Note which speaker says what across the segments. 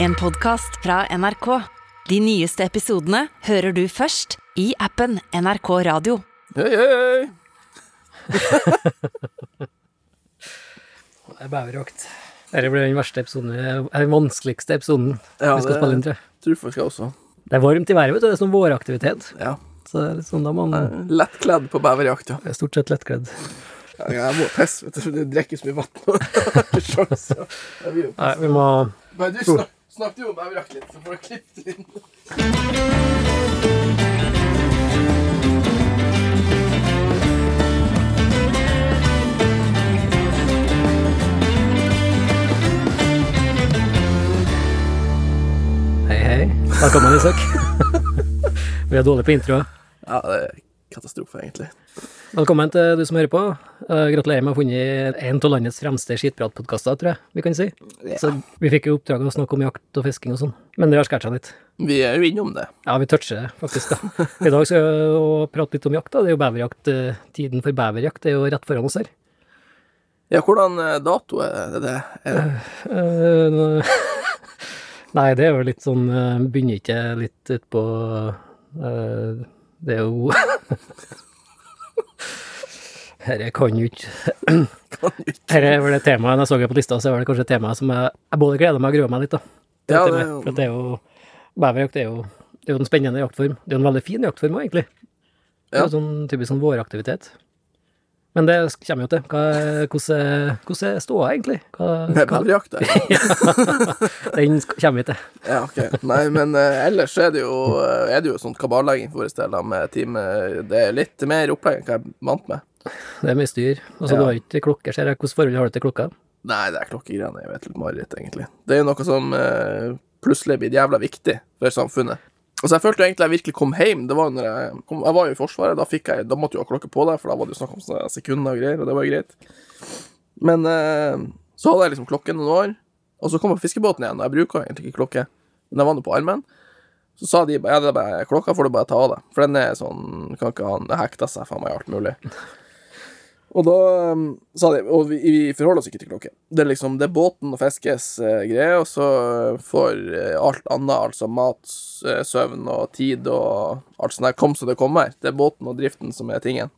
Speaker 1: En podcast fra NRK. De nyeste episodene hører du først i appen NRK Radio.
Speaker 2: Hei, hei!
Speaker 3: Det er bæverjakt. Dette blir den verste episoden, eh, den vanskeligste episoden
Speaker 2: Ja,
Speaker 3: vi skal
Speaker 2: det-
Speaker 3: spille inn, tror jeg.
Speaker 2: Tror folk skal også.
Speaker 3: Det er varmt i været, vet du. Det er sånn våraktivitet.
Speaker 2: Ja.
Speaker 3: Så det er litt sånn da man er
Speaker 2: Lett kledd på bæverjakt, ja.
Speaker 3: stort sett lettkledd.
Speaker 2: Jeg må pisse, vet du. Det drikker så mye vann nå. Jeg har ikke sjans, ja. Jeg vil jo
Speaker 3: Nei, vi må
Speaker 2: Men du snak, snakket jo om bæverjakt litt, så får du klippet det inn.
Speaker 3: Hei, hei. Velkommen, Isak. vi er dårlige på introer.
Speaker 2: Ja, det er katastrofe, egentlig.
Speaker 3: Velkommen til du som hører på. Eh, gratulerer med å ha funnet en av landets fremste skitpratpodkaster, tror jeg vi kan si. Så vi fikk jo oppdrag å snakke om jakt og fisking og sånn, men det har skåret seg litt.
Speaker 2: Vi er jo innom det.
Speaker 3: Ja, vi toucher det faktisk, da. I dag skal vi jo prate litt om jakt, da. Det er jo beverjakt. eh, Tiden for beverjakt er jo rett foran oss her.
Speaker 2: Ja, hvordan eh, dato er det? det? Er det?
Speaker 3: Eh, nå- Nei, det er jo litt sånn eh, Begynner ikke litt utpå uh, Det er jo Herre kan jo ikke
Speaker 2: Kan du ikke?
Speaker 3: Herre er vel det temaet når jeg så det på lista, så er vel det kanskje et tema som jeg, jeg både gleder meg og gruer meg litt, da. Det
Speaker 2: Ja,
Speaker 3: til
Speaker 2: det er
Speaker 3: meg,
Speaker 2: jo-
Speaker 3: For at det er jo Beverjakt er jo det er jo en spennende jaktform. Det er jo en veldig fin jaktform òg, egentlig. Det er jo sånn typisk sånn våraktivitet. Men det kommer jo til. Hva, er- hvordan er- hvordan er ståa, egentlig? Hva,
Speaker 2: Det er
Speaker 3: hva,
Speaker 2: bæverjakt, det.
Speaker 3: den sk- kommer vi til.
Speaker 2: Ja, ok. Nei, men eh, ellers er det jo, eh, er det jo sånn kaballegging for vår del, da, med time Det er litt mer opplegg enn hva jeg er vant med.
Speaker 3: Det er mye styr. Altså,
Speaker 2: Ja.
Speaker 3: Du har ikke klokke, ser jeg. Hvilket forhold har du til klokka?
Speaker 2: Nei, det er klokkegreiene jeg vet litt mareritt, egentlig. Det er jo noe som eh, plutselig blir jævla viktig for samfunnet. Altså, jeg følte jo egentlig jeg virkelig kom hjem. Det var når jeg, kom, jeg var jo i Forsvaret, da, fikk jeg, da måtte jeg jo ha klokke på deg, for da var det jo snakk om sånne sekunder og greier, og det var jo greit. Men eh, så hadde jeg liksom klokke noen år, og så kom jeg på fiskebåten igjen, og jeg bruker jo egentlig ikke klokke, men jeg var nå på armen. Så sa de bare, ja, det er bare klokka får du bare ta av deg, for den er sånn, kan ikke ha den det hekta seg faen meg i alt mulig. Og da um, sa de Og vi, vi forholder oss ikke til klokke. Det er liksom det er båten og fiskes eh, greie, og så får eh, alt annet, altså mat, s- eh, søvn og tid og alt sånt der, kom så det kommer. Det er båten og driften som er tingen.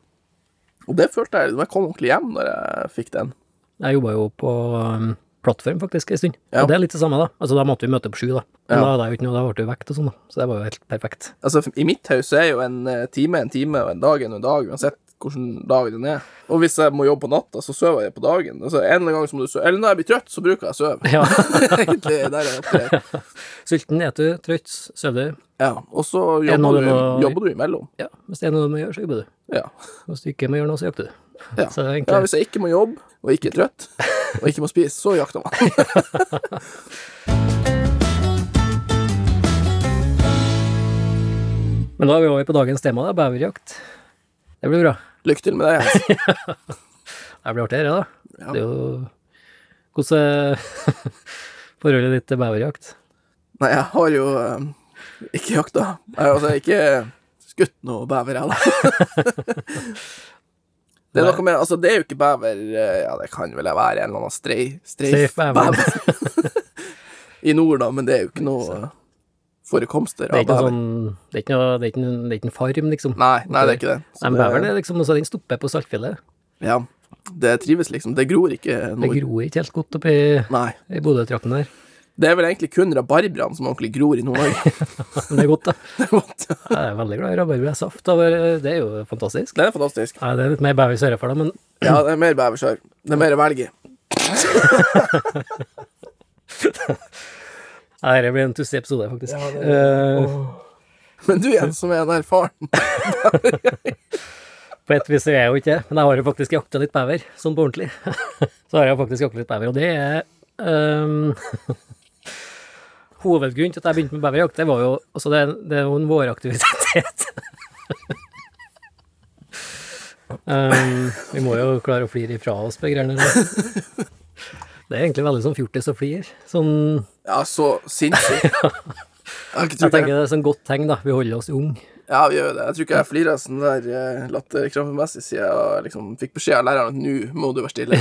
Speaker 2: Og det følte jeg Jeg kom ordentlig hjem når jeg fikk den.
Speaker 3: Jeg jobba jo på um, plattform faktisk en stund,
Speaker 2: Ja.
Speaker 3: og det er litt det samme, da. Altså, da måtte vi møte opp sju, da. Men
Speaker 2: Ja.
Speaker 3: da hadde jeg jo ikke noe, da ble du vekt og sånn, da. Så det var jo helt perfekt.
Speaker 2: Altså, I mitt hus er jo en eh, time en time, og en dag en dag, uansett hvilken dag den er. Og hvis jeg må jobbe på natta, så sover jeg på dagen. Altså, en eller annen gang så må du sove. Eller når jeg blir trøtt, så bruker jeg å sove.
Speaker 3: Ja.
Speaker 2: Egentlig der er jeg opptatt.
Speaker 3: Sulten, et du, trøtt, sover du.
Speaker 2: Ja, og så
Speaker 3: Er det noe
Speaker 2: jobber,
Speaker 3: du
Speaker 2: du,
Speaker 3: må-
Speaker 2: jobber du imellom.
Speaker 3: Ja, hvis det er noe du må gjøre, så jobber du.
Speaker 2: Ja.
Speaker 3: Hvis du ikke må gjøre noe, så jakter du.
Speaker 2: Ja.
Speaker 3: Så det er
Speaker 2: ja,
Speaker 3: egentlig
Speaker 2: Hvis jeg ikke må jobbe, og ikke er trøtt, og ikke må spise, så jakter man.
Speaker 3: Men da er vi over på dagens tema, da. Beverjakt. Det blir bra.
Speaker 2: Lykke til med det. Jens.
Speaker 3: Det blir artig, det, da.
Speaker 2: Ja.
Speaker 3: Det er jo Hvordan er forholdet ditt til beverjakt?
Speaker 2: Nei, jeg har jo eh, ikke jakta. Jeg har altså ikke skutt noe bever, jeg, da. Det er noe med, altså det er jo ikke bever eh, Ja, det kan vel være en eller annen strei, streif
Speaker 3: Streif bever.
Speaker 2: i nord, da, men det er jo ikke noe eh, forekomster
Speaker 3: Det
Speaker 2: av
Speaker 3: er ikke
Speaker 2: bever.
Speaker 3: noe sånn Det er ikke noe Det er ikke, en- det er ikke en farm, liksom.
Speaker 2: Nei, nei, det er ikke det. Så
Speaker 3: Nei, men
Speaker 2: det-
Speaker 3: beveren er liksom noe så den stopper på Saltfjellet.
Speaker 2: Ja. Det trives liksom. Det gror ikke
Speaker 3: Det
Speaker 2: nord.
Speaker 3: gror ikke helt godt oppi
Speaker 2: Nei.
Speaker 3: i Bodø-trakten der.
Speaker 2: Det er vel egentlig kun rabarbraen som ordentlig gror i Nord-Norge.
Speaker 3: Men det er godt, da.
Speaker 2: Det er godt.
Speaker 3: Jeg er veldig glad i rabarbrasaft. da, bare- Det er jo fantastisk.
Speaker 2: Den er fantastisk.
Speaker 3: Nei, det er litt mer bever sør for da, men
Speaker 2: Ja, det er mer beversør. Det er mer å velge. i.
Speaker 3: Nei, dette blir en tussig episode, faktisk. Eh,
Speaker 2: Men du Jens, som er en erfaren
Speaker 3: På et vis er jeg jo ikke det, men jeg har jo faktisk jakta litt bever, sånn på ordentlig. Så har jeg faktisk jakta litt bever, og det er ehm, Hovedgrunnen til at jeg begynte med beverjakt, det var jo altså det, er- det er jo en våraktivitet. Ehm, vi må jo klare å flire ifra oss, begreiene. Det er egentlig veldig sånn fjortis og flir. Sånn,
Speaker 2: Ja, så sinnssyk. Jeg, har ikke
Speaker 3: jeg
Speaker 2: trodd
Speaker 3: tenker
Speaker 2: jeg,
Speaker 3: det er sånn godt tegn, da. Vi holder oss ung.
Speaker 2: ja, vi gjør det. jeg tror ikke jeg flirer sånn der eh, latterkrampemessig siden jeg liksom, fikk beskjed av læreren at nå må du være stille.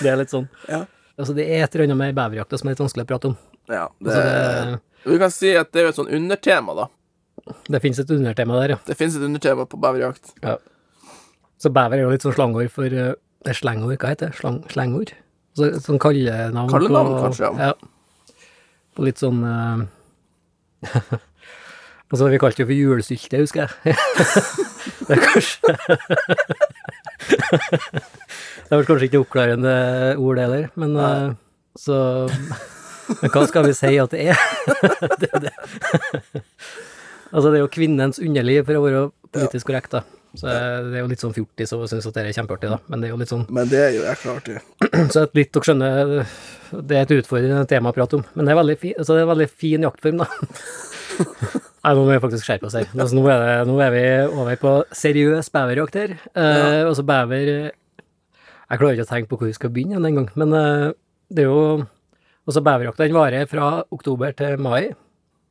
Speaker 3: Det er litt sånn.
Speaker 2: Ja.
Speaker 3: Altså, det er et eller annet med beverjakta som er litt vanskelig å prate om.
Speaker 2: Ja, det,
Speaker 3: Altså, det,
Speaker 2: vi kan si at det er jo et sånn undertema, da.
Speaker 3: det finnes et undertema der, ja.
Speaker 2: Det fins et undertema på beverjakt.
Speaker 3: Så bever er jo litt sånn slangord for eh, Det er slangord, hva heter det? Slang, slangord? Så, sånn kallenavn
Speaker 2: Kallenavn, kanskje,
Speaker 3: ja. På litt sånn eh, Altså, vi kalte det for julesylte, husker jeg. det er kanskje Det er vel kanskje ikke oppklarende ord, det heller, men eh, så Men hva skal vi si at det er? det, er det. altså, det er jo kvinnens underliv, for å være politisk korrekt, da. Så eh, det er jo litt sånn fjortis og syns at det er kjempeartig, da. Men det er jo litt sånn
Speaker 2: Men det er jo jeg klar til.
Speaker 3: Så at litt dere skjønner, det er et utfordrende tema å prate om. Men det er veldig fin, altså det er en veldig fin jaktform, da. Nei, nå må vi faktisk skjerpe oss her. Altså, nå, er det, nå er vi over på seriøs beverjakt her. Eh, altså bever Jeg klarer ikke å tenke på hvor vi skal begynne den gang, men eh, det er jo Altså beverjakta den varer fra oktober til mai,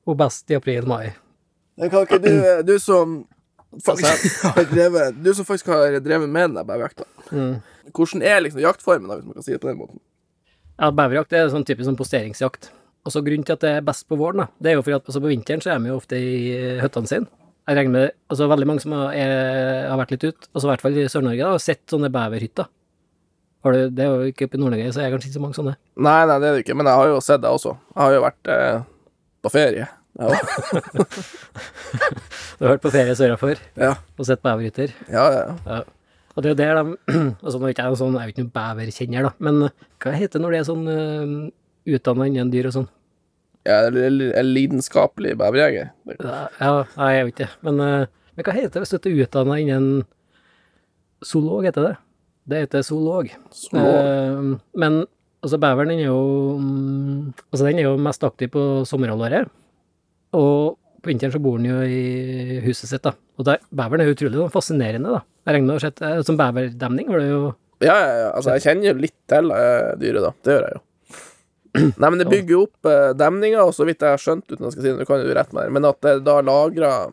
Speaker 3: og best i april-mai.
Speaker 2: Men kan ikke du, eh, du som faktisk har drevet, du som faktisk har drevet med den der beverjakta, hvordan er liksom jaktformen, da, hvis man kan si det på den måten?
Speaker 3: Ja, beverjakt er sånn typisk sånn posteringsjakt. Og så Grunnen til at det er best på våren, da, det er jo fordi at altså på vinteren så er de jo ofte i eh, hyttene sine. Jeg regner med altså veldig mange som har, er, har vært litt ute, altså i hvert fall i Sør-Norge, da, har sett sånne beverhytter. Har du, det er jo ikke oppe i Nord-Norge, så er det kanskje ikke så mange sånne.
Speaker 2: Nei, nei, det er det ikke, men jeg har jo sett det også. Jeg har jo vært eh, på ferie. Jeg også.
Speaker 3: Du har vært på ferie sørafor
Speaker 2: Ja,
Speaker 3: og sett beverhytter.
Speaker 2: ja, ja.
Speaker 3: Ja. Og det er jo der de altså nå er ikke jeg, noen sånn, jeg er jo ikke noen beverkjenner, da, men eh, hva heter det når det er sånn eh, utdannet innen dyr og sånn?
Speaker 2: Jeg er li- li- en lidenskapelig beverjeger.
Speaker 3: Ja, nei, jeg vet ikke. Men, eh, men hva heter det hvis du er utdanna innen zoolog, heter det? Det heter zoolog.
Speaker 2: Zoolog.
Speaker 3: Eh, men altså, beveren den er jo mm, Altså, den er jo mest aktiv på sommerhalvåret. Og på vinteren så bor den jo i huset sitt, da. Og der, beveren er jo utrolig sånn fascinerende, da. Jeg regner med å ha sett eh, Som beverdemning var det jo
Speaker 2: Ja, ja, ja. Altså, jeg kjenner jo litt til eh, dyret, da. Det gjør jeg jo. Nei, men det bygger jo opp eh, demninger, og så vidt jeg har skjønt, uten at jeg skal si det, nå kan jo du rette meg, her, men at det da lagrer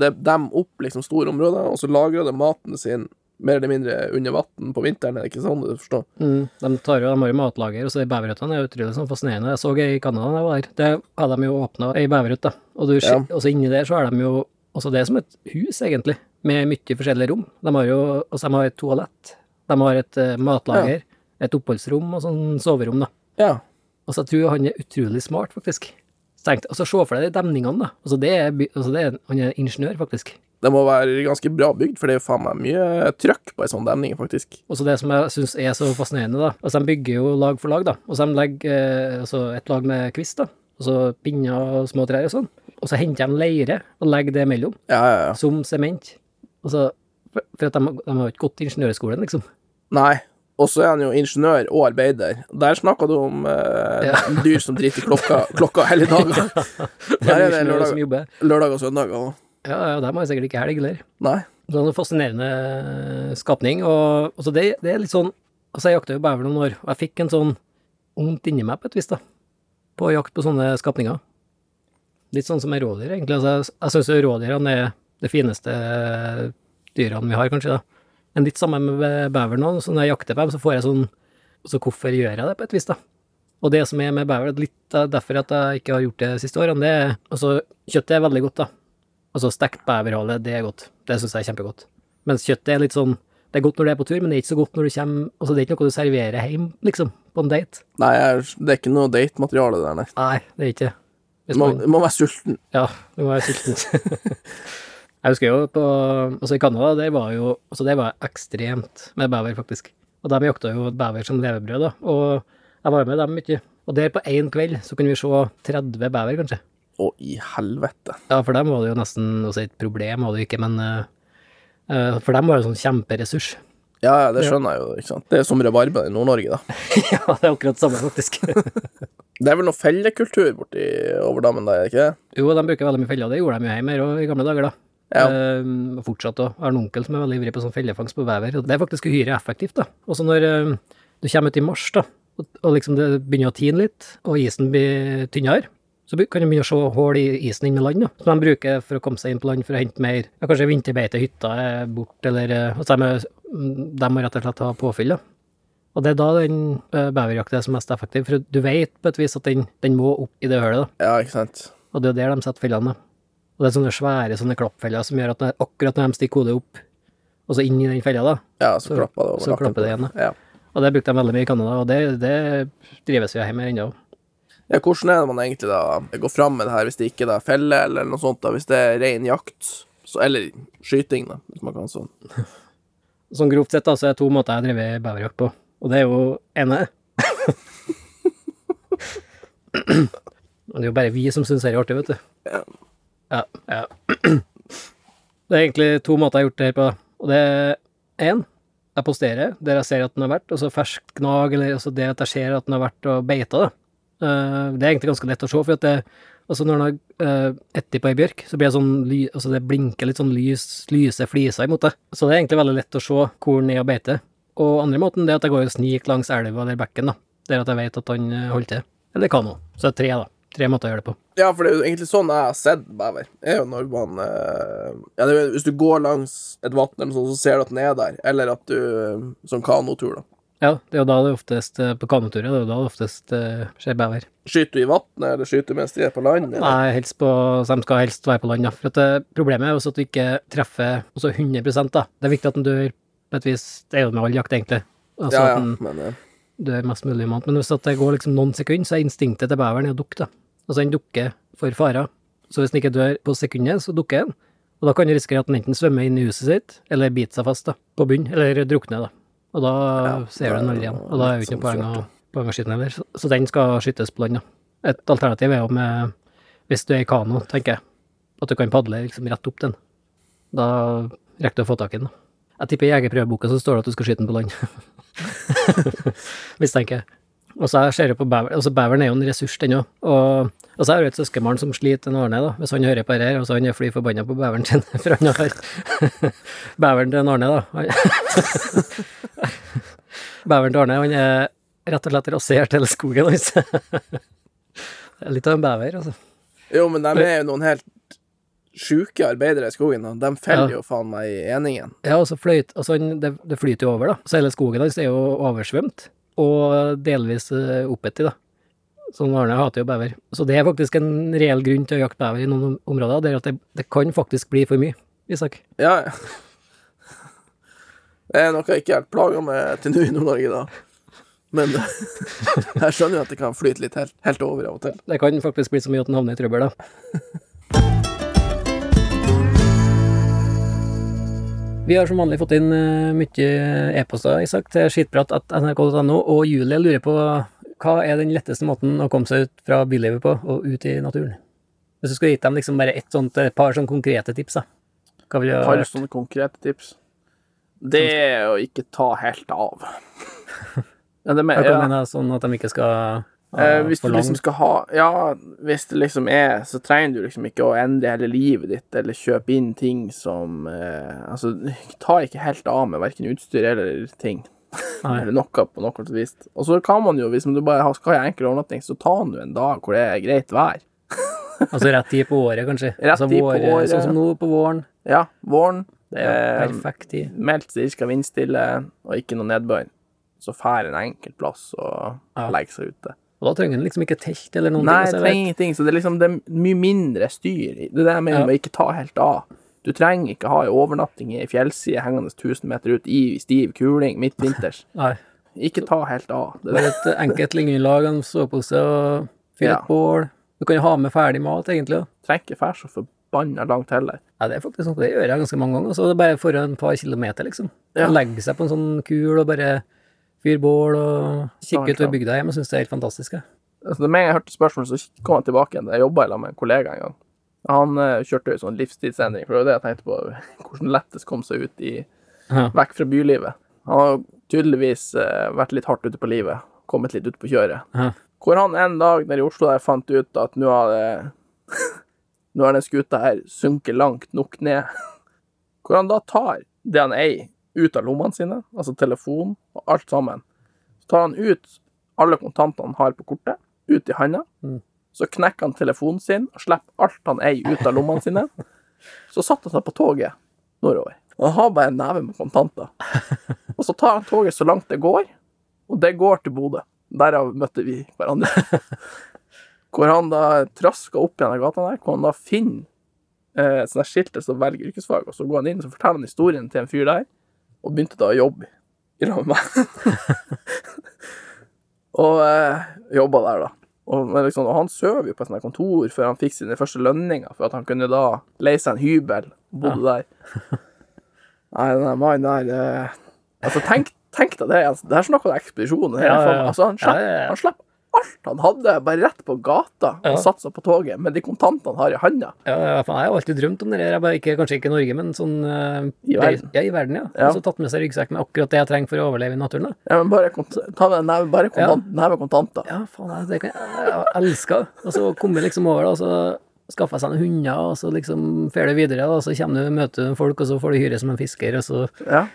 Speaker 2: det dem opp liksom store områder, og så lagrer det maten sin mer eller mindre under vann på vinteren, er det ikke sånn du forstår?
Speaker 3: Mm. De tar jo, de har jo matlager, og så de beverhyttene er jo utrolig sånn fascinerende. Jeg så ei i Canada da jeg var der, der hadde de jo åpna ei beverhytt, da. Og, du,
Speaker 2: Ja.
Speaker 3: ser- og så inni der så er de jo Altså det er som et hus, egentlig, med mye forskjellige rom. De har jo altså de har et toalett, de har et eh, matlager, et oppholdsrom og sånn soverom, da.
Speaker 2: Ja.
Speaker 3: Og så jeg tror han er utrolig smart, faktisk. Så tenkte, altså Se for deg de demningene, da. Altså det er, by- altså det er, han er ingeniør, faktisk.
Speaker 2: Det må være ganske bra bygd, for det er jo faen meg mye trøkk på ei sånn demning, faktisk.
Speaker 3: Og så det som jeg syns er så fascinerende, da Altså, de bygger jo lag for lag, da. Og så de legger eh, altså et lag med kvist, da. Og så pinner og små trær og sånn. Og så henter de leire og legger det mellom,
Speaker 2: Ja, ja, ja.
Speaker 3: som sement. Og så For for at de, de har jo ikke gått til ingeniørskolen, liksom.
Speaker 2: Nei. Og så er han jo ingeniør og arbeider. Der snakka du om eh, dyr som driter i klokka, klokka hele dagen.
Speaker 3: Det
Speaker 2: Der
Speaker 3: er
Speaker 2: er det
Speaker 3: ingeniører som
Speaker 2: lørdag,
Speaker 3: jobber.
Speaker 2: lørdag og søndag og
Speaker 3: Ja, ja, de har jo sikkert ikke helg, heller.
Speaker 2: Nei.
Speaker 3: Det er Sånn en fascinerende skapning, og altså det, det er litt sånn Altså, jeg jakta jo bever noen år, og jeg fikk en sånn vondt inni meg på et vis, da, på jakt på sånne skapninger. Litt sånn som med rådyr, egentlig. Altså, jeg jeg syns jo rådyrene er det fineste dyrene vi har, kanskje, da. Men litt samme med be- beveren òg. Så når jeg jakter på dem, så får jeg sånn Så hvorfor gjør jeg det, på et vis, da? Og det som er med bever, det er litt av derfor at jeg ikke har gjort det de siste årene, det er Altså, kjøttet er veldig godt, da. Altså stekt beverhale, det er godt. Det syns jeg er kjempegodt. Mens kjøttet er litt sånn Det er godt når du er på tur, men det er ikke så godt når du kommer Altså, det er ikke noe du serverer hjem, liksom, på en date.
Speaker 2: Nei, jeg, det er ikke noe datemateriale der, nei.
Speaker 3: Nei, det er ikke det. Hvis
Speaker 2: Man
Speaker 3: man-
Speaker 2: man må være sulten.
Speaker 3: ja, du var sulten. jeg husker jo på Altså, i Canada, der var jo Altså, det var ekstremt med bever, faktisk. Og de jakta jo bever som levebrød, da. Og jeg var jo med dem mye. Og der på én kveld så kunne vi se 30 bever, kanskje.
Speaker 2: Å, i helvete.
Speaker 3: Ja, for dem var det jo nesten også et problem, var det jo ikke, men eh, eh, For dem var det en sånn kjemperessurs.
Speaker 2: Ja, ja, det skjønner jeg jo, ikke sant. Det er som rabarber i Nord-Norge, da.
Speaker 3: ja, det er akkurat samme, faktisk.
Speaker 2: Det er vel noe fellekultur borti over dammen der, er det ikke det?
Speaker 3: jo, de bruker veldig mye feller, det gjorde de jo hjemme her også i gamle dager, da.
Speaker 2: Ja.
Speaker 3: Ehm, og fortsatt òg. Har en onkel som er veldig ivrig på sånn fellefangst på bever. og Det er faktisk uhyre effektivt, da. Og så når ehm, du kommer ut i mars, da, og, og liksom det begynner å tine litt, og isen blir tynnere, så be- kan du begynne å se hull i isen inn med land, da, som de bruker for å komme seg inn på land for å hente mer ja, Kanskje vinterbeitehytta er borte, eller eh, altså de, er- mm, de må rett og slett ha påfyll, da. Og Og det er da den eh, beverjakta er som mest effektiv, for du vet på et vis at den, den må opp i det hølet, da.
Speaker 2: Ja, ikke sant.
Speaker 3: Og det er der de setter fellene. da. Og det er sånne svære sånne klappfeller som gjør at når- akkurat når de stikker hodet opp, og så inn i den fella, da.
Speaker 2: Ja, så,
Speaker 3: Så-
Speaker 2: klappa det over
Speaker 3: så klapper det igjen,
Speaker 2: Ja.
Speaker 3: Og det brukte de veldig mye i Canada, og det, det drives jo hjemme ennå.
Speaker 2: Ja, hvordan er det man egentlig da går fram med det her hvis det ikke da er felle eller noe sånt, da, hvis det er ren jakt? Så, eller skyting, da, hvis man kan sånn.
Speaker 3: Sånn grovt sett da, så er det to måter jeg driver beverjakt på, og det er jo ene Men det er jo bare vi som syns det er artig, vet du.
Speaker 2: Ja.
Speaker 3: Ja, ja. Det er egentlig to måter jeg har gjort det her på, og det er én jeg posterer der jeg ser at den har vært, og så ferskt gnag, eller altså det at jeg ser at den har vært og beita, da. Eh, Det er egentlig ganske lett å se, for at det, altså når den har uh, etti på ei bjørk, så blir det sånn ly, altså det blinker litt sånn lys, lyse fliser imot det. Så det er egentlig veldig lett å se hvor den er og beiter. Og andre måten det er at jeg går og sniker langs elva eller bekken, da, der at jeg vet at han eh, holder til. Eller kano. Så det er tre, da. Tre måter å gjøre det på.
Speaker 2: Ja, for det er jo egentlig sånn jeg har sett bever. er jo når man eh, Ja, det er, jo- hvis du går langs et vann eller noe sånt, så ser du at den er der. Eller at du eh, Sånn kanotur, da.
Speaker 3: Ja, det er jo da det oftest eh, på kanoturer, det er jo da det oftest eh, skjer bever.
Speaker 2: Skyter du i vannet, eller skyter du mens de er på land? eller?
Speaker 3: Nei, helst på, så de skal helst være på land. Ja. For at eh, Problemet er jo også at du ikke treffer også 100 da. Det er viktig at den dør på et vis. Det er jo med all jakt, egentlig. Altså
Speaker 2: ja,
Speaker 3: at
Speaker 2: ja,
Speaker 3: den
Speaker 2: men eh,
Speaker 3: dør mest mulig. i måned. Men hvis at det går liksom noen sekunder, så er instinktet til beveren å dukke. da. Altså Den dukker for farer. Så hvis den ikke dør på sekundet, så dukker den. Og da kan du risikere at den enten svømmer inn i huset sitt, eller biter seg fast da, på bunnen, eller drukner. da. Og da
Speaker 2: Ja,
Speaker 3: ser du den aldri igjen. Og da er jo ikke noe
Speaker 2: litt
Speaker 3: poeng
Speaker 2: sånn
Speaker 3: å, poeng å skyte den heller. Så, så den skal skytes på land. da. Et alternativ er jo med, hvis du er i kano, tenker jeg, at du kan padle liksom rett opp den. Da rekker du å få tak i den. da. Jeg tipper i jegerprøveboka så står det at du skal skyte den på land. Mistenker jeg. Og så ser jeg på bever, altså beveren er jo en ressurs, den òg. Og, og så har jeg jo et søskenbarn som sliter en Arne, da, hvis han hører på det her. Altså, han er fly forbanna på beveren sin, for han har Beveren til en Arne, da. Han- beveren til Arne, han er rett og slett rasert hele skogen hans. Det er Litt av en bever, altså.
Speaker 2: Jo, men de er jo noen helt sjuke arbeidere i skogen. da. De feller
Speaker 3: Ja.
Speaker 2: jo faen meg i eningen.
Speaker 3: Ja, og så fløyt, altså han, det, det flyter jo over, da. Så hele skogen hans er jo oversvømt, og delvis eh, oppetti, da. Sånn Arne hater jo bever. Så det er faktisk en reell grunn til å jakte bever i noen om- områder, det er at det, det kan faktisk bli for mye, Isak.
Speaker 2: Ja, ja. Det er noe jeg ikke har vært plaga med til nå i Nord-Norge, da. Men eh, jeg skjønner jo at det kan flyte litt helt, helt over av og til.
Speaker 3: Det kan faktisk bli så mye at den havner i trøbbel, da. Vi har som vanlig fått inn eh, mye e-poster, Isak, til skitprat.nrk.no, og Julie lurer på hva er den letteste måten å komme seg ut fra bylivet på og ut i naturen? Hvis du skulle gitt dem liksom bare et sånt, et par sånn konkrete tips, da. Hva vil du
Speaker 2: Har du sånne konkrete tips? Eh, Det er å ikke ta helt av. Ja, det
Speaker 3: Hva
Speaker 2: mener
Speaker 3: ja.
Speaker 2: jeg.
Speaker 3: mener jeg sånn at de ikke skal ah,
Speaker 2: Eh, hvis du
Speaker 3: for
Speaker 2: liksom
Speaker 3: langt?
Speaker 2: skal ha Ja, hvis det liksom er Så trenger du liksom ikke å endre hele livet ditt eller kjøpe inn ting som eh, Altså, ta ikke helt av med verken utstyr eller ting.
Speaker 3: Nei.
Speaker 2: Eller noe på noe slags vis. Og så kan man jo, hvis man du bare har- skal ha enkel overnatting, så ta nå en dag hvor det er greit vær.
Speaker 3: Altså rett tid på året, kanskje?
Speaker 2: Rett
Speaker 3: altså,
Speaker 2: tid på
Speaker 3: våre-
Speaker 2: året.
Speaker 3: Sånn som nå på våren.
Speaker 2: Ja, våren.
Speaker 3: Det er
Speaker 2: eh,
Speaker 3: jo perfekt tid.
Speaker 2: meldt cirka vindstille og ikke noe nedbør. Så fær en enkel plass og
Speaker 3: Ja.
Speaker 2: legg seg ute.
Speaker 3: Og da trenger du liksom ikke telt eller noen
Speaker 2: Nei,
Speaker 3: ting.
Speaker 2: jeg
Speaker 3: altså, jeg vet.
Speaker 2: trenger ingenting. Så det er liksom det er mye mindre styr. i- Det er det jeg mener
Speaker 3: Ja.
Speaker 2: med å ikke ta helt av. Du trenger ikke ha en overnatting i ei fjellside hengende 1000 meter ut i stiv kuling midtvinters.
Speaker 3: Nei.
Speaker 2: Ikke ta helt av. Det
Speaker 3: Bare
Speaker 2: der.
Speaker 3: et enkelt liggeunderlag, en sovepose og fyr
Speaker 2: Ja.
Speaker 3: et bål. Du kan jo ha med ferdig mat, egentlig. da.
Speaker 2: trenger ikke fær så forbanna langt heller.
Speaker 3: Ja, det er faktisk noe det gjør jeg ganske mange ganger. Så det er bare for en par kilometer, liksom.
Speaker 2: Ja.
Speaker 3: Legge seg på en sånn kul og bare fyre bål og kikke
Speaker 2: Snart,
Speaker 3: utover
Speaker 2: Sånn, ja.
Speaker 3: bygda hjemme. Jeg syns det er helt fantastisk. jeg.
Speaker 2: Altså, med en gang jeg hørte spørsmålet, så kom jeg tilbake igjen. Jeg jobba sammen med en kollega en gang. Han eh, kjørte jo sånn livstidsendring, for det var det jeg tenkte på. Hvordan lettest kom seg ut i
Speaker 3: Ja.
Speaker 2: vekk fra bylivet. Han har tydeligvis eh, vært litt hardt ute på livet, kommet litt ut på kjøret.
Speaker 3: Ja.
Speaker 2: Hvor han en dag nede i Oslo der fant ut at nå har det Nå har den skuta her sunket langt nok ned. Hvor han da tar det han eier, ut av lommene sine, altså telefon og alt sammen. Så tar han ut alle kontantene han har på kortet, ut i handa.
Speaker 3: Mm.
Speaker 2: Så knekker han telefonen sin og slipper alt han eier, ut av lommene sine. Så satte han seg på toget nordover. Og han har bare en neve med kontanter. Og så tar han toget så langt det går, Og det går til Bodø. Derav møtte vi hverandre. hvor han da trasker opp igjen av gata der, hvor han da finner eh, et sånt der skilt der som velger yrkesfag, og så går han inn og forteller han historien til en fyr der, og begynte da å jobbe i lag med meg. og eh, jobba der, da. Og, men liksom, og han søv jo på et sånt der kontor før han fikk sine første lønninger, for at han kunne da leie seg en hybel og bodde der. Nei, den der mannen der eh, Altså, tenk, tenk deg det. Altså, det er snakk om ekspedisjon. det her,
Speaker 3: Ja, ja, ja.
Speaker 2: faen. Altså, han
Speaker 3: Ja,
Speaker 2: slapp,
Speaker 3: ja, ja.
Speaker 2: han slapp alt han hadde, bare rett på gata og
Speaker 3: Ja.
Speaker 2: satsa på toget med de kontantene han har i handa.
Speaker 3: Ja, ja, faen, jeg har alltid drømt om det der. Jeg bare ikke, kanskje ikke i Norge, men sånn eh,
Speaker 2: I verden.
Speaker 3: Ja, i verden, ja.
Speaker 2: Ja.
Speaker 3: Og så tatt med seg ryggsekk med akkurat det jeg trenger for å overleve i naturen. da.
Speaker 2: Ja, men bare, kont ta med en neve- bare kontant, neve kontanter.
Speaker 3: Ja, faen, jeg- det kan jeg, jeg elsker. Og så komme liksom over, da, og så skaffe seg noen hunder, og så liksom fer du videre, da, og så kommer du, møter du folk, og så får du hyre som en fisker, og så
Speaker 2: Ja.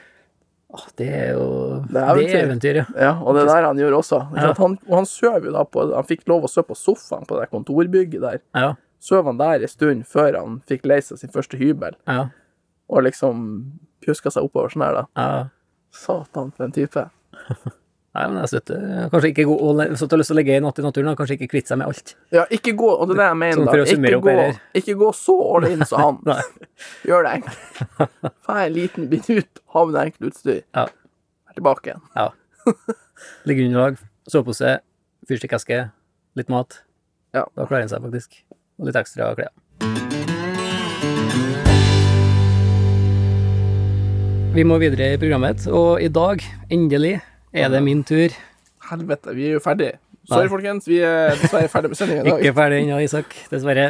Speaker 3: Åh, det er jo
Speaker 2: Det
Speaker 3: Det
Speaker 2: er
Speaker 3: er eventyr, ja.
Speaker 2: Ja, og det der han gjør også. Ikke sant? Han, og han søv jo da på Han fikk lov å søve på sofaen på det der kontorbygget der.
Speaker 3: Ja,
Speaker 2: Søv han der en stund før han fikk leie seg sin første hybel,
Speaker 3: ja,
Speaker 2: og liksom pjuska seg oppover sånn her, da.
Speaker 3: ja.
Speaker 2: Satan, for en type.
Speaker 3: Nei, men jeg støtter Kanskje ikke gå all- Så du har lyst til å ligge en natt i naturen, da. Kanskje ikke kvitte seg med alt.
Speaker 2: Ja, ikke gå Og det er det jeg mener,
Speaker 3: Sånn
Speaker 2: da.
Speaker 3: for å
Speaker 2: Ikke
Speaker 3: summere opp
Speaker 2: gå,
Speaker 3: her.
Speaker 2: ikke gå så all in som han.
Speaker 3: Nei.
Speaker 2: Gjør det enkelt. Fær en liten bit ut, ha med deg enkelt utstyr,
Speaker 3: Ja.
Speaker 2: er tilbake igjen.
Speaker 3: ja. Ligge under lag, sovepose, fyrstikkeske, litt mat.
Speaker 2: Ja.
Speaker 3: Da klarer en seg faktisk. Og litt ekstra klær. Vi må videre i programmet, og i dag, endelig, er det min tur.
Speaker 2: Helvete, vi er jo ferdig. Sorry,
Speaker 3: Nei.
Speaker 2: folkens. Vi er dessverre ferdig med sendinga i dag.
Speaker 3: Ikke ferdig ennå, Isak, dessverre.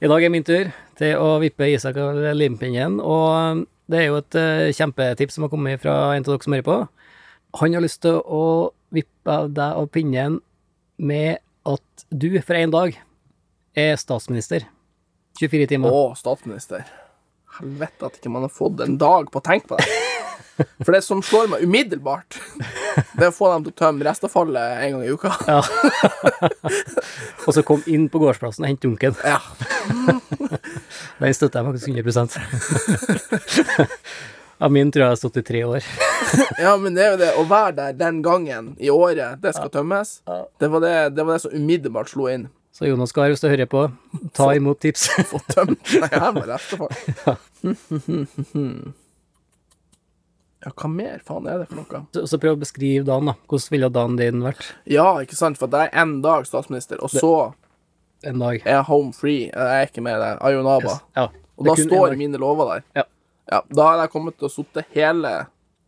Speaker 3: I dag er min tur til å vippe Isak av limpinnen, og um, det er jo et eh, kjempetips som har kommet fra en av dere som hører på. Han har lyst til å vippe av deg av pinnen med at du for en dag er statsminister. 24 timer.
Speaker 2: Å, statsminister. Helvete at ikke man har fått en dag på å tenke på det. For det som slår meg umiddelbart, det er å få dem til å tømme restavfallet en gang i uka.
Speaker 3: Ja. og så kom inn på gårdsplassen og hente dunken.
Speaker 2: Ja.
Speaker 3: Den støtter jeg faktisk 100 Av min tror jeg har stått i tre år.
Speaker 2: ja, men det er jo det. Å være der den gangen i året det skal tømmes,
Speaker 3: Ja.
Speaker 2: det var det, det, var det som umiddelbart slo inn.
Speaker 3: Så Jonas Gahr, hvis du hører på, ta imot tips.
Speaker 2: Få tømt det jævla restavfallet. Ja, hva mer faen er det for noe?
Speaker 3: Så, så prøv å beskrive dagen, da. Hvordan ville dagen din vært
Speaker 2: Ja, ikke sant, for det er én dag statsminister, og så
Speaker 3: en dag?
Speaker 2: er jeg home free. Jeg er ikke med der. Ayonaba.
Speaker 3: Ja.
Speaker 2: Eh, Og da
Speaker 3: det er kun en
Speaker 2: står
Speaker 3: dag.
Speaker 2: mine lover der.
Speaker 3: Ja.
Speaker 2: Ja, da har jeg kommet til å sitte hele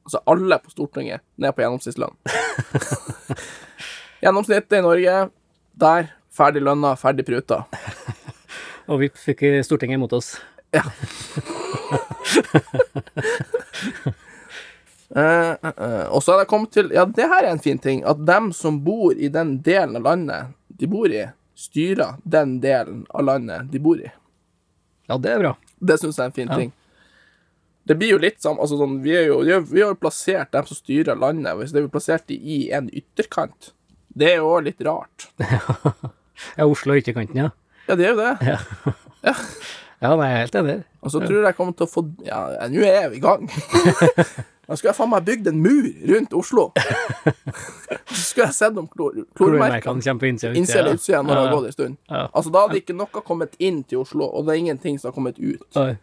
Speaker 2: Altså alle på Stortinget ned på gjennomsnittslønn. Gjennomsnittet i Norge der. Ferdig lønna, ferdig pruta.
Speaker 3: Og vi fikk Stortinget imot oss.
Speaker 2: Eh, eh, eh. og så har jeg kommet til Ja, det her er en fin ting. At dem som bor i den delen av landet de bor i, styrer den delen av landet de bor i.
Speaker 3: Ja, det er bra.
Speaker 2: Det syns jeg er en fin ting. Det blir jo litt sånn, altså sånn Vi er jo vi er, vi har jo plassert dem som styrer landet, hvis det er jo plassert de i en ytterkant. Det er jo også litt rart.
Speaker 3: Ja, Oslo og ytterkanten, ja.
Speaker 2: Ja, det er jo det.
Speaker 3: Ja, nei, jeg er helt enig.
Speaker 2: Og så tror jeg jeg kommer til å få Ja, ja, nå er vi i gang. Da skulle jeg faen meg bygd en mur rundt Oslo. Og så skulle jeg sett om klor- klormerkene.
Speaker 3: Kloremerkene kommer på innsida. og
Speaker 2: Innse eller utsida når det har
Speaker 3: Ja.
Speaker 2: gått en stund.
Speaker 3: Ja.
Speaker 2: Altså, da hadde ikke noe kommet inn til Oslo, og det er ingenting som har kommet ut.
Speaker 3: Oi,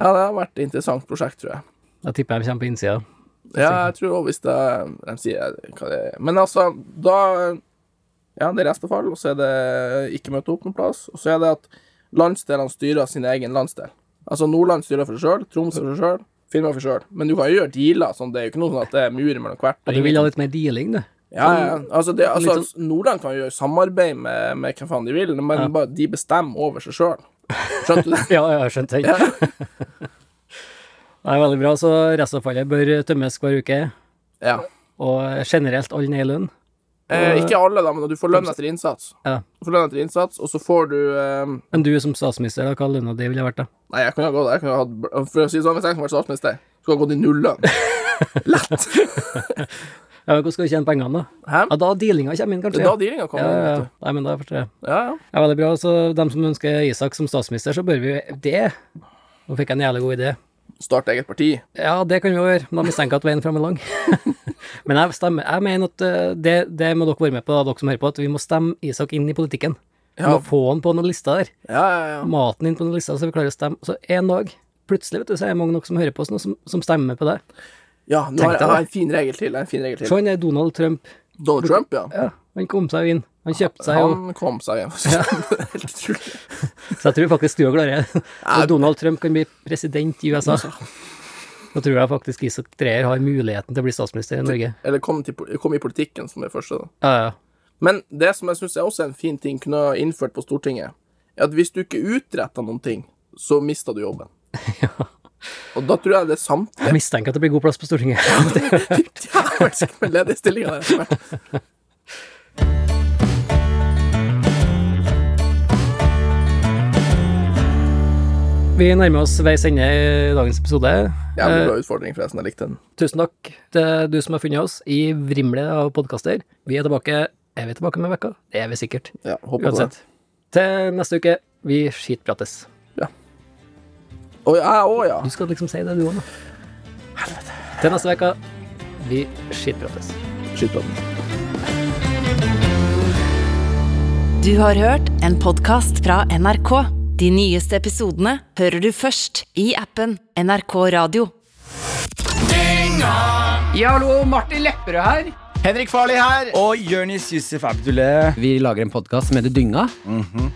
Speaker 2: Ja, det har vært et interessant prosjekt, tror jeg.
Speaker 3: Da tipper jeg de kommer på innsida.
Speaker 2: Ja, jeg tror også hvis det De sier hva det er Men altså, da Ja, det er restefall, og så er det ikke møte opp noen plass. Og så er det at landsdelene styrer sin egen landsdel. Altså Nordland styrer for seg sjøl, Troms for seg sjøl, Finnmark for seg sjøl. Men du kan jo gjøre dealer, sånn. Det er jo ikke noe sånn at det er murer mellom hvert.
Speaker 3: Ja, du vil ha litt mer dealing, du.
Speaker 2: Ja, ja. Altså, det, altså
Speaker 3: Litt sånn-
Speaker 2: Nordland kan jo gjøre samarbeid med, med hvem faen de vil, men bare, de bestemmer over seg sjøl. Skjønte du det?
Speaker 3: Ja, ja, jeg skjønte det. Nei, veldig bra. Så restavfallet bør tømmes hver uke.
Speaker 2: Ja.
Speaker 3: Og generelt all ned i lønn.
Speaker 2: Eh, ikke alle, da, men du får lønn etter innsats.
Speaker 3: Ja.
Speaker 2: Du får lønn etter innsats, og så får du eh,
Speaker 3: Men du som statsminister, da, hva lønna di ville vært, da?
Speaker 2: Nei, jeg kunne ha gått jeg kunne ha hatt, For å si det sånn, hvis jeg skulle vært statsminister, skulle jeg ha gått i nullene. Lett.
Speaker 3: Ja, men Hvordan skal du tjene pengene, da?
Speaker 2: Hæ?
Speaker 3: Ja, da dealinga kommer inn,
Speaker 2: Det
Speaker 3: kanskje?
Speaker 2: er da dealinga
Speaker 3: ja,
Speaker 2: kommer inn.
Speaker 3: ja, ja.
Speaker 2: vet du.
Speaker 3: Nei, men da forstår jeg.
Speaker 2: Ja, ja.
Speaker 3: Ja, veldig bra. Så dem som ønsker Isak som statsminister, så bør vi jo det. Nå fikk jeg en jævlig god idé.
Speaker 2: Starte eget parti.
Speaker 3: Ja, det kan vi jo gjøre, men da mistenker jeg at veien fram er lang. men jeg, stemmer, jeg mener at eh, det, det må dere være med på, da, dere som hører på, at vi må stemme Isak inn i politikken. Vi
Speaker 2: Ja.
Speaker 3: må få han på noen lister der.
Speaker 2: Ja, ja, ja.
Speaker 3: Maten inn på noen lister, så vi klarer å stemme. Så en dag, plutselig, vet du, så er det mange nok som hører på oss nå, som, som stemmer på det.
Speaker 2: ja nå har jeg,
Speaker 3: Tenk deg
Speaker 2: jeg
Speaker 3: det.
Speaker 2: har en fin regel til. jeg har En fin regel
Speaker 3: Se,
Speaker 2: til.
Speaker 3: han er Donald Trump.
Speaker 2: Donald Trump, ja.
Speaker 3: Ja, han kom seg jo inn. Han kjøpte seg jo
Speaker 2: Han kom seg hjem. Helt utrolig.
Speaker 3: Så jeg tror faktisk du òg klarer det. Når Donald Trump kan bli president i USA, da tror jeg faktisk Isak Dreyer har muligheten til å bli statsminister i Norge.
Speaker 2: Eller kom, til, po- kom i politikken, som er første. da.
Speaker 3: Ja, ja.
Speaker 2: Men det som jeg syns er også en fin ting kunne ha innført på Stortinget, er at hvis du ikke utretta noen ting, så mista du jobben. Og da tror jeg det er samtlige
Speaker 3: Jeg mistenker at det blir god plass på Stortinget.
Speaker 2: jævelsk med ledige stillinger der etter hvert.
Speaker 3: Vi nærmer oss veis ende i dagens episode.
Speaker 2: Jævlig
Speaker 3: Eh,
Speaker 2: bra utfordring, forresten. Jeg likte den.
Speaker 3: tusen takk til du som har funnet oss i vrimlet av podkaster. Vi er tilbake Er vi tilbake om en uke? Det er vi sikkert.
Speaker 2: Ja, håper på det.
Speaker 3: Uansett. Til neste uke. Vi skitprates.
Speaker 2: Å ja, å ja.
Speaker 3: Du skal liksom si det, du òg, nå. Til neste uke. Vi skitprates.
Speaker 2: Skyt på den.
Speaker 1: Du har hørt en podkast fra NRK. De nyeste episodene hører du først i appen NRK Radio.
Speaker 4: Ja, hallo, Martin Lepperød her.
Speaker 5: Henrik Farley her. Og Jonis Yusuf Abdullah.
Speaker 6: Vi lager en podkast som heter Dynga.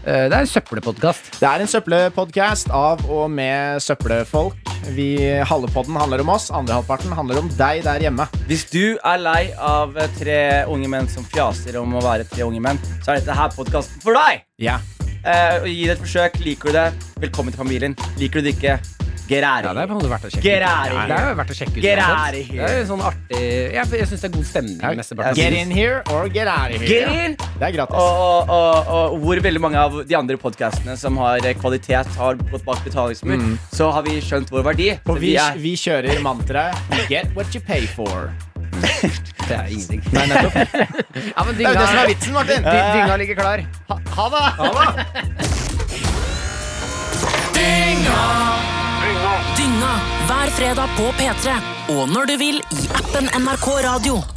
Speaker 6: Eh, Det er en søppelpodkast.
Speaker 5: Det er en søppelpodkast av og med søppelfolk. Vi, halve podden handler om oss, andre halvparten handler om deg der hjemme.
Speaker 7: Hvis du er lei av tre unge menn som fjaser om å være tre unge menn, så er dette her podkasten for deg!
Speaker 5: Ja.
Speaker 7: Eh, og gi det et forsøk. Liker du det, velkommen til familien. Liker du det ikke, get out
Speaker 6: Ja,
Speaker 7: of
Speaker 6: det er på en
Speaker 7: here.
Speaker 6: måte verdt å sjekke
Speaker 7: Get
Speaker 6: ut.
Speaker 7: out of
Speaker 6: Ja,
Speaker 7: here.
Speaker 6: Det er jo verdt å sjekke ut.
Speaker 7: Get
Speaker 6: uansett.
Speaker 7: out of here.
Speaker 6: Det er jo sånn artig Jeg, jeg syns det er god stemning. mesteparten av
Speaker 5: Get
Speaker 6: tiden.
Speaker 5: in here or get out of
Speaker 7: Get
Speaker 5: here.
Speaker 7: in!
Speaker 5: Det er gratis.
Speaker 7: Og, og, og, og hvor veldig mange av de andre podkastene som har eh, kvalitet, har gått bak betalingsmur,
Speaker 6: Mm.
Speaker 7: så har vi skjønt vår verdi.
Speaker 5: Og
Speaker 7: Så
Speaker 5: vi,
Speaker 7: er-
Speaker 5: vi kjører mantraet Get what you pay for.
Speaker 6: Det er ingenting.
Speaker 4: Ja, men
Speaker 5: Det er jo det som
Speaker 4: dynga,
Speaker 5: er vitsen, Martin.
Speaker 4: dy- dynga ligger klar.
Speaker 5: Ha det.
Speaker 8: Dynga hver fredag på P3. Og når du vil i appen NRK Radio.